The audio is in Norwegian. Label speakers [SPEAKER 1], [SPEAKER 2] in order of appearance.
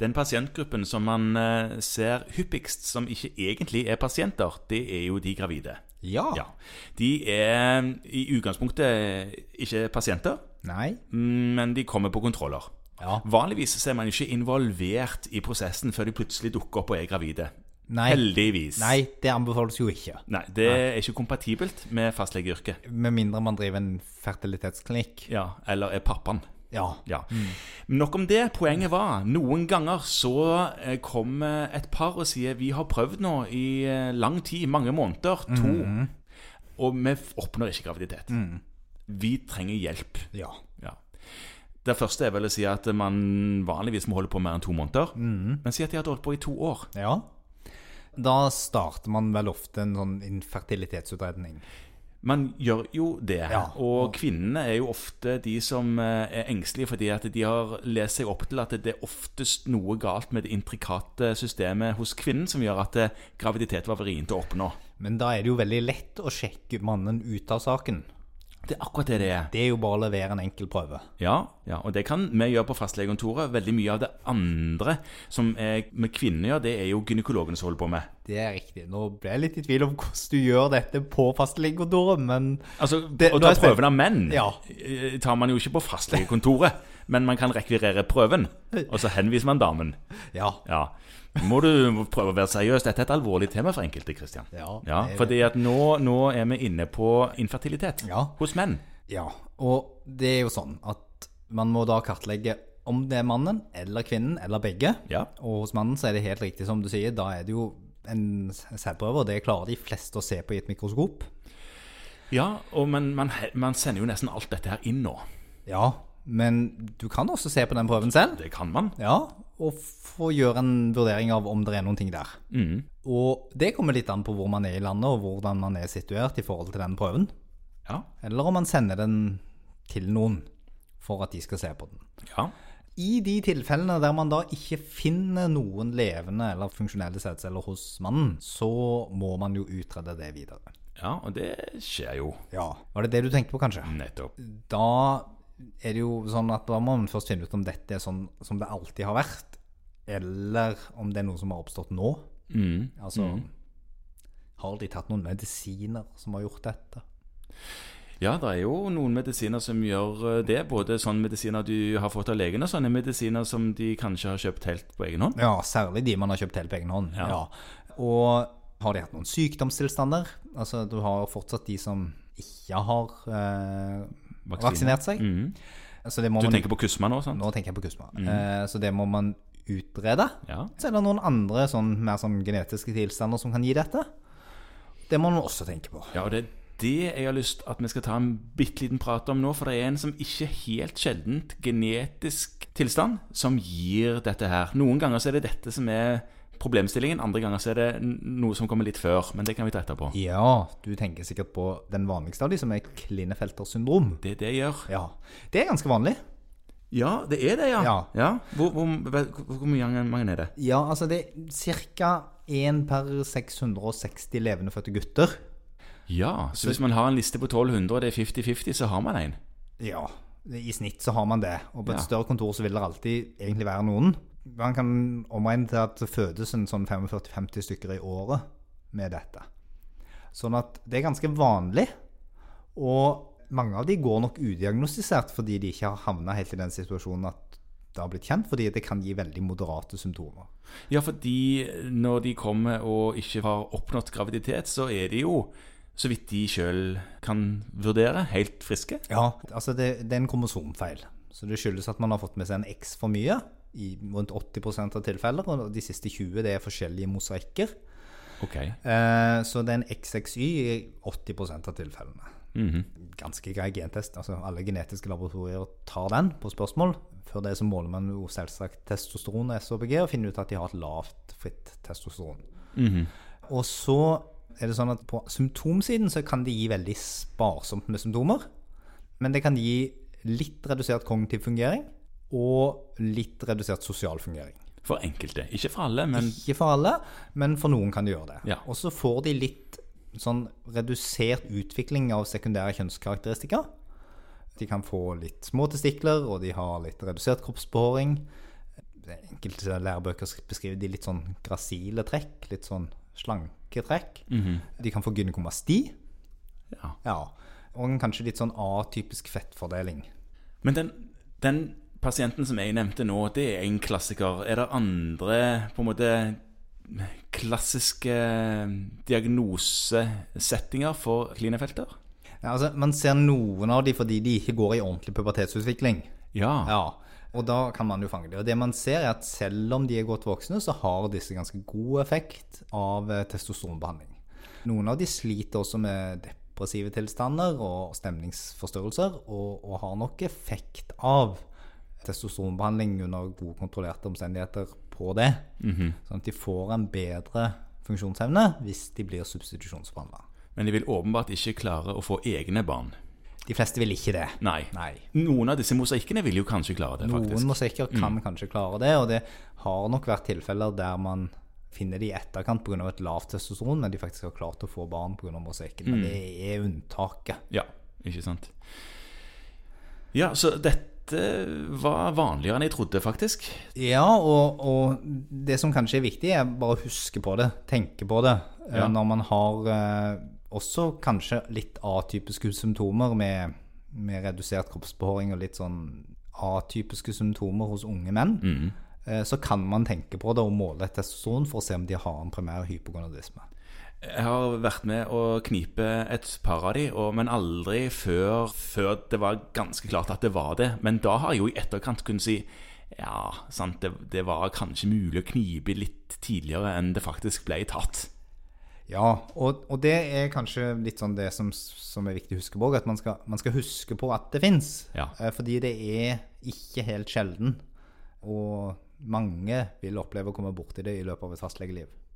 [SPEAKER 1] Den pasientgruppen som man eh, ser hyppigst, som ikke egentlig er pasienter, det er jo de gravide.
[SPEAKER 2] Ja.
[SPEAKER 1] Ja. De er eh, i utgangspunktet eh, ikke pasienter, mm,
[SPEAKER 2] Nei.
[SPEAKER 1] men de kommer på kontroller.
[SPEAKER 2] Ja.
[SPEAKER 1] Vanligvis så er man ikke involvert i prosessen før de plutselig dukker opp og er gravide.
[SPEAKER 2] Nei.
[SPEAKER 1] Heldigvis.
[SPEAKER 2] Nei, det anbefales jo ikke.
[SPEAKER 1] Nei, det er ikke kompatibelt med fastlegeyrket.
[SPEAKER 2] Med mindre man driver en fertilitetsklinikk.
[SPEAKER 1] Ja, eller er pappaen.
[SPEAKER 2] Ja.
[SPEAKER 1] Ja. Nok om det. Poenget var noen ganger så eh, kommer et par og sier vi har prøvd nå i eh, lang tid, mange måneder, to, og vi f- oppnår ikke graviditet. Vi trenger hjelp.
[SPEAKER 2] Ja.
[SPEAKER 1] Ja. Det første er vel å si at man vanligvis må holde på mer enn to måneder. Men si at de hadde holdt på i to år.
[SPEAKER 2] ja. Da starter man vel ofte en sånn infertilitetsutredning.
[SPEAKER 1] Man gjør jo det.
[SPEAKER 2] Ja.
[SPEAKER 1] Og kvinnene er jo ofte de som eh, er engstelige fordi at de har lest seg opp til at det er oftest noe galt med det intrikate systemet hos kvinnen som gjør at eh, graviditet var vrient å oppnå.
[SPEAKER 2] Men da er det jo veldig lett å sjekke mannen ut av saken.
[SPEAKER 1] Det er akkurat det det er.
[SPEAKER 2] Det er jo bare å levere en enkel prøve.
[SPEAKER 1] Ja, ja, og det kan vi gjøre på fastlegekontoret. Veldig mye av det andre som er med kvinner gjør, det er jo gynekologene som holder på med.
[SPEAKER 2] Det er riktig. Nå ble jeg litt i tvil om hvordan du gjør dette på fastlegekontoret, men
[SPEAKER 1] Altså,
[SPEAKER 2] Det-
[SPEAKER 1] Å
[SPEAKER 2] nå er
[SPEAKER 1] ta
[SPEAKER 2] jeg spent.
[SPEAKER 1] prøven av menn
[SPEAKER 2] Ja.
[SPEAKER 1] eh, tar man jo ikke på fastlegekontoret, men man kan rekvirere prøven, og så henviser man damen.
[SPEAKER 2] ja.
[SPEAKER 1] Ja. Må du prøve å være seriøs? Dette er et alvorlig tema for enkelte, Kristian.
[SPEAKER 2] Ja,
[SPEAKER 1] ja
[SPEAKER 2] det er
[SPEAKER 1] fordi at nå, nå er vi inne på infertilitet
[SPEAKER 2] Ja.
[SPEAKER 1] hos menn.
[SPEAKER 2] Ja, og det er jo sånn at man må da kartlegge om det er mannen eller kvinnen eller begge.
[SPEAKER 1] Ja.
[SPEAKER 2] Og hos mannen så er det helt riktig som du sier, da er det jo en sædprøve, og det klarer de fleste å se på i et mikroskop.
[SPEAKER 1] Ja, og men man, he- man sender jo nesten alt dette her inn nå.
[SPEAKER 2] Ja, men du kan også se på den prøven selv.
[SPEAKER 1] Det kan man.
[SPEAKER 2] Ja, og få gjøre en vurdering av om det er noen ting der. Og det kommer litt an på hvor man er i landet, og hvordan man er situert i forhold til den prøven.
[SPEAKER 1] Ja.
[SPEAKER 2] Eller om man sender den til noen for at de skal se på den.
[SPEAKER 1] ja.
[SPEAKER 2] I de tilfellene der man da ikke finner noen levende eller funksjonelle sædceller hos mannen, så må man jo utrede det videre.
[SPEAKER 1] Ja, og det skjer jo
[SPEAKER 2] Ja. Var det det du tenkte på, kanskje?
[SPEAKER 1] nettopp.
[SPEAKER 2] Da er det jo sånn at da må man først finne ut om dette er sånn som det alltid har vært, eller om det er noe som har oppstått nå.
[SPEAKER 1] Mm.
[SPEAKER 2] Altså Har de tatt noen medisiner som har gjort dette?
[SPEAKER 1] Ja, det er jo noen medisiner som gjør eh, det. Både sånne medisiner du har fått av legen, og sånne medisiner som de kanskje har kjøpt helt på egen hånd.
[SPEAKER 2] Ja, særlig de man har kjøpt helt på egen hånd. Ja. Og har de hatt noen sykdomstilstander? Altså, du har fortsatt de som ikke har eh,
[SPEAKER 1] Vaksine. Mm.
[SPEAKER 2] vaksinert seg. Så det må
[SPEAKER 1] Du
[SPEAKER 2] man,
[SPEAKER 1] tenker på kusma nå, sant?
[SPEAKER 2] nå tenker jeg på kusma. Eh, så det må man utrede.
[SPEAKER 1] Ja.
[SPEAKER 2] Så er det noen andre sånn, mer sånn genetiske tilstander som kan gi dette. Det må man også tenke på.
[SPEAKER 1] Ja, og det er det jeg har lyst at vi skal ta en bitte liten prat om nå. For det er en som ikke helt sjeldent genetisk tilstand som gir dette her. Noen ganger så er det dette som er problemstillingen, andre ganger så er det n- noe som kommer litt før. Men det kan vi ta etterpå.
[SPEAKER 2] Ja, du tenker sikkert på den vanligste av de, som er Klinefelters syndrom.
[SPEAKER 1] Det er det jeg gjør.
[SPEAKER 2] Ja, Det er ganske vanlig.
[SPEAKER 1] Ja, det er det, ja.
[SPEAKER 2] Ja.
[SPEAKER 1] Hvor, hvor, hvor, hvor mye mange- mange er det?
[SPEAKER 2] Ja, altså det er ca. 1 per 660 levende fødte gutter.
[SPEAKER 1] Ja, så hvis man har en liste på 1200 og det er 50-50, så har man en.
[SPEAKER 2] Ja, i snitt så har man det. Og på et
[SPEAKER 1] Ja.
[SPEAKER 2] større kontor så vil det alltid egentlig være noen. Man kan omregne til at det fødes en sånn 45-50 stykker i året med dette. Sånn at det er ganske vanlig. Og mange av de går nok udiagnostisert fordi de ikke har havna helt i den situasjonen at det har blitt kjent, fordi det kan gi veldig moderate symptomer.
[SPEAKER 1] Ja, fordi når de kommer og ikke har oppnådd graviditet, så er de jo, så vidt de sjøl kan vurdere, helt friske.
[SPEAKER 2] Ja, altså det, det er en kromosomfeil. Så det skyldes at man har fått med seg en X for mye i rundt 80 av tilfeller, og de siste 20 det er forskjellige mosaikker.
[SPEAKER 1] Ok.
[SPEAKER 2] Eh, så det er en XXY i 80 av tilfellene. Ganske grei gentest. altså Alle genetiske laboratorier tar den på spørsmål. Før det så måler man jo selvsagt testosteron og SHBG og finner ut at de har et lavt fritt testosteron. Og så er det sånn at på symptomsiden så kan det gi veldig sparsomt med symptomer. Men det kan gi litt redusert kognitiv fungering og litt redusert sosial fungering.
[SPEAKER 1] For enkelte. Ikke for alle, men
[SPEAKER 2] Ikke for alle, men for noen kan de gjøre det.
[SPEAKER 1] Ja.
[SPEAKER 2] Og så får de litt sånn redusert utvikling av sekundære kjønnskarakteristikker. De kan få litt små testikler, og de har litt redusert kroppsbehåring. Enkelte lærebøker beskriver de litt sånn grasile trekk, litt sånn slanke trekk. De kan få gynekomasti.
[SPEAKER 1] Ja.
[SPEAKER 2] Ja. Og en kanskje litt sånn atypisk fettfordeling.
[SPEAKER 1] Men den, den pasienten som jeg nevnte nå, det er en klassiker. Er det andre på en måte klassiske diagnosesettinger for klinefelter?
[SPEAKER 2] Ja, altså, man ser noen av de fordi de ikke går i ordentlig pubertetsutvikling.
[SPEAKER 1] Ja.
[SPEAKER 2] Ja, og da kan man jo fange det. Og det man ser er at selv om de er godt voksne, så har disse ganske god effekt av eh, testosteronbehandling. Noen av de sliter også med depressive tilstander og stemningsforstyrrelser, og, og har nok effekt av testosteronbehandling under gode kontrollerte omstendigheter på det.
[SPEAKER 1] Mhm.
[SPEAKER 2] Sånn at de får en bedre funksjonsevne hvis de blir substitusjonsbehandla.
[SPEAKER 1] Men de vil åpenbart ikke klare å få egne barn.
[SPEAKER 2] De fleste vil ikke det.
[SPEAKER 1] Nei.
[SPEAKER 2] Nei.
[SPEAKER 1] Noen av disse mosaikkene vil jo kanskje klare det, faktisk. Mm.
[SPEAKER 2] Noen mosaikker kan kanskje klare det, og det har nok vært tilfeller der man finner de i etterkant pga. et lavt testosteron, men de faktisk har klart å få barn pga. mosaikken.
[SPEAKER 1] Mm.
[SPEAKER 2] Men det er unntaket.
[SPEAKER 1] Ja, ikke sant. Ja, så dette var vanligere enn jeg trodde, faktisk.
[SPEAKER 2] Ja, og, og det som kanskje er viktig, er bare å huske på det, tenke på det, eh,
[SPEAKER 1] Ja.
[SPEAKER 2] når man har eh, også kanskje litt atypiske symptomer med, med redusert kroppsbehåring og litt sånn atypiske symptomer hos unge menn. eh, Så kan man tenke på det og måle et testosteron for å se om de har en primær hypogonadisme.
[SPEAKER 1] Jeg har vært med å knipe et par av de, og, men aldri før, før det var ganske klart at det var det. Men da har jeg jo i etterkant kunnet si ja, sant, det, det var kanskje mulig å knipe litt tidligere enn det faktisk ble tatt.
[SPEAKER 2] Ja, og, og det er kanskje litt sånn det som, som er viktig å huske på, at man skal, man skal huske på at det fins.
[SPEAKER 1] Ja.
[SPEAKER 2] Fordi det er ikke helt sjelden. Og mange vil oppleve å komme borti det i løpet av et fastlegeliv.